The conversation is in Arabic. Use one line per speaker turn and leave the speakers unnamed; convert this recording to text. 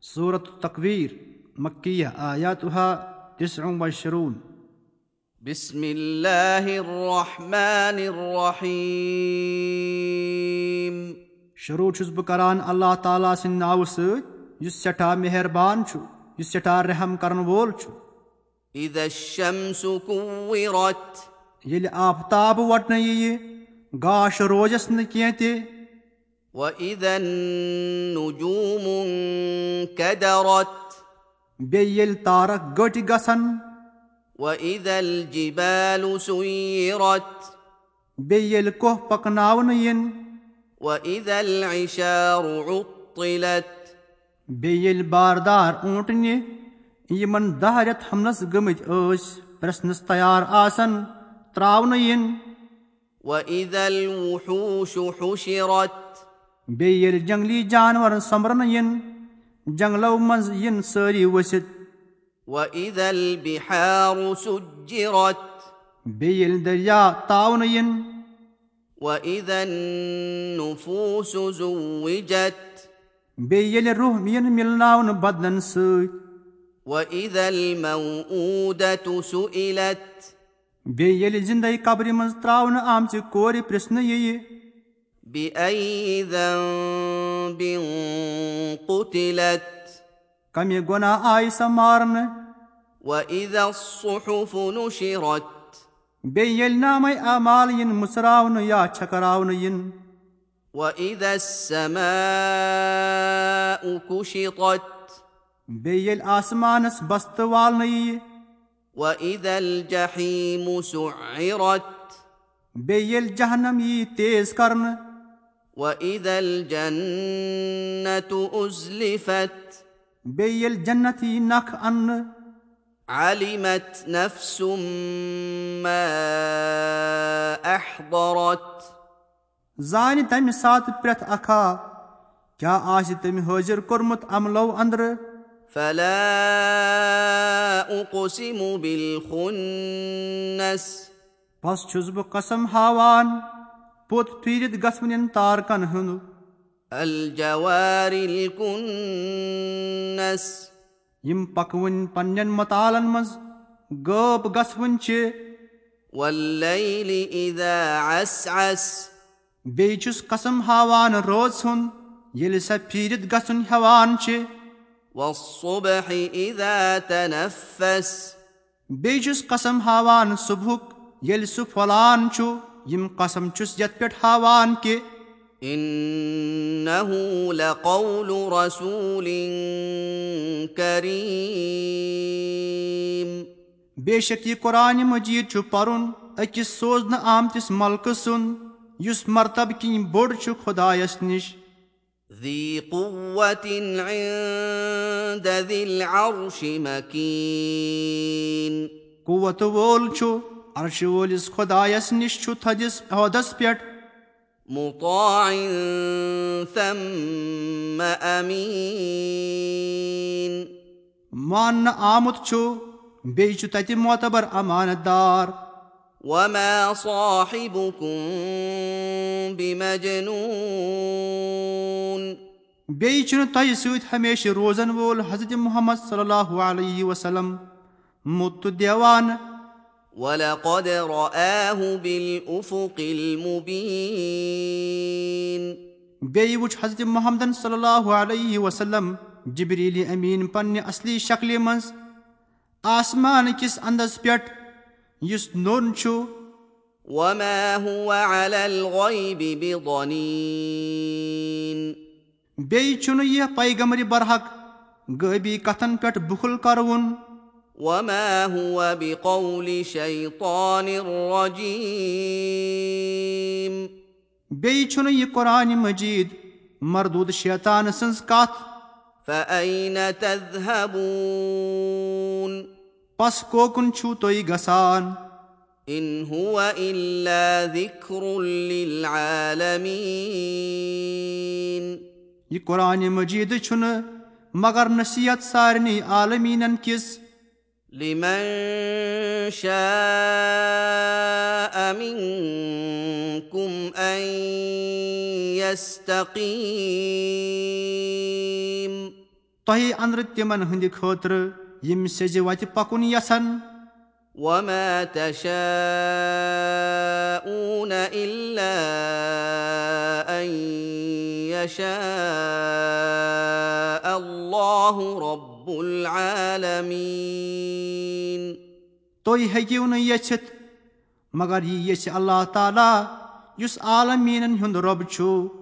سورة التكوير مكية آياتها تسع وعشرون
بسم الله الرحمن الرحيم
شروع چھُس بہٕ کران اللہ تعالیٰ سٕنٛدِ ناوٕ سۭتۍ یُس سٮ۪ٹھاہ مہربان چھُ یُس سٮ۪ٹھاہ رحم کرن وول چھُ
إذا الشمس كورت
ییٚلہِ آفتاب وۄٹنہٕ یِیہِ گاش روزٮ۪س نہٕ کینٛہہ تہِ
وإذا النجوم انكدرت
بیٚیہِ ییٚلہِ تارک گٔٹۍ گژھن
وإذا الجبال سيرت
بیٚیہِ ییٚلہِ کوہ پکناونہٕ یِن
وإذا العشار عطلت
بیٚیہِ ییٚلہِ باردار اونٹنہِ یِمن دہ رٮ۪تھ حملس گٔمٕتۍ ٲسۍ پرٛژھنس تیار آسن ترٛاونہٕ یِن
وإذا الوحوش حشرت
بیٚیہِ ییٚلہِ جنگلی جانور سۄمبرنہٕ یِن جنگلو منٛز یِن سٲری ؤسِتھ
وإذا البحار سجرت
بیٚیہِ ییٚلہِ دریا تاونہٕ یِن
وإذا النفوس زوجت
بیٚیہِ ییٚلہِ روح یِن مِلناونہٕ بدلن سۭتۍ
وإذا الموءودة سئلت
بیٚیہِ ییٚلہِ زِندَے قبرِ منٛز ترٛاونہٕ آمژِ کورِ پرٛژھنہٕ یِیہِ
بأي ذنب قتلت
کمہِ گۄناہ آیہِ سۄ مارنہٕ
وإذا الصحف نشرت
بیٚیہِ ییٚلہِ نامے اعمال یِن مٕژراونہٕ یا چھکراونہٕ یِن
وإذا السماء كشطت
بیٚیہِ ییٚلہِ آسمانس بستہٕ والنہٕ یِیہِ
وإذا الجحيم سعرت
بیٚیہِ ییٚلہِ جہنم یی تیز کرنہٕ
وإذا الجنة أزلفت
بیٚیہِ ییٚلہِ جنت یی نکھ اننہٕ
علمت نفس ما أحضرت
زانہِ تمہِ ساتہٕ پرٛٮ۪تھ اکھا کیٛاہ آسہِ تٔمۍ حٲضِر کوٚرمُت عملو انٛدرٕ
فلا أقسم بالخنس
بس چھُس بہٕ قسم ہاوان پوٚت پھیٖرِتھ گژھوٕنٮ۪ن تارکن ہُنٛد
الجوار الكنس
یِم پکوٕنۍ پننٮ۪ن مطالن منٛز غٲب گژھوٕنۍ چھِ
والليل إذا عسعس
بیٚیہِ چھُس قسم ہاوان روز ہُنٛد ییٚلہِ سۄ پھیٖرِتھ گژھُن ہٮ۪وان چھِ
والصبح إذا تنفس
بیٚیہِ چھُس قسم ہاوان صُبحُک ییٚلہِ سُہ پھۄلان چھُ یِم قسم چھُس یتھ پٮ۪ٹھ ہاوان کہِ
إنه لقول رسول كريم
بے شک یہِ قرآنہِ مجیٖد چھُ پرُن أکِس سوزنہٕ آمتِس ملکہٕ سُنٛد یُس مرتبہٕ کِنۍ بوٚڑ چھُ خۄدایس نِش
ذي قوة عند ذي العرش مكين
قوتہٕ وول چھُ عرشہِ وٲلِس خۄدایس نِش چھُ تھدِس عہدس پٮ۪ٹھ
مطاع ثم أمين
ماننہٕ آمُت چھُ بیٚیہِ چھُ تتہِ معتبر امانت دار
وما صاحبكم بمجنون
بیٚیہِ چھُنہٕ تۄہہِ سۭتۍ ہمیشہِ روزن وول حضرت محمد صلی اللہ علیہ وسلم مُت تہٕ دیوان
ولقد رآه بالأفق المبين
بیٚیہِ وٕچھ حضرت محمدن صلی اللہ علیہ وسلم جبریٖل أمیٖن پننہِ اصلی شکلہِ منٛز آسمان کِس انٛدس پٮ۪ٹھ یُس نوٚن چھُ
وما هو على الغيب بضنين
بیٚیہِ چھُنہٕ یہِ پیغمبرِ برحق غٲبی کتھن پٮ۪ٹھ بُخل کروُن
وما هو بقول شيطان رجيم
بیٚیہِ چھُنہٕ یہِ قرآنہِ مجیٖد مردود شیطان سٕنٛز کتھ
فأين تذهبون
پس کوکُن چھُو تُہۍ گژھان
إن هو إلا ذكر للعالمين
یہِ قرآنہِ مجیٖدٕ چھُنہٕ مگر نصیٖحت سارنٕے عالمیٖنن کِس
لمن شاء منكم أن يستقيم
تۄہہِ اندرٕ تِمن ہٕنٛدِ خٲطرٕ یِم سیٚزِ وتہِ پکُن یژھان
وما تشاءون الا ان يشاء الله رب العالمين
تُہۍ ہیٚکِو نہٕ یٔژھِتھ مگر یہِ یژھِ اللہ تعالیٰ یُس عالمیٖنن ہُنٛد رۄب چھُ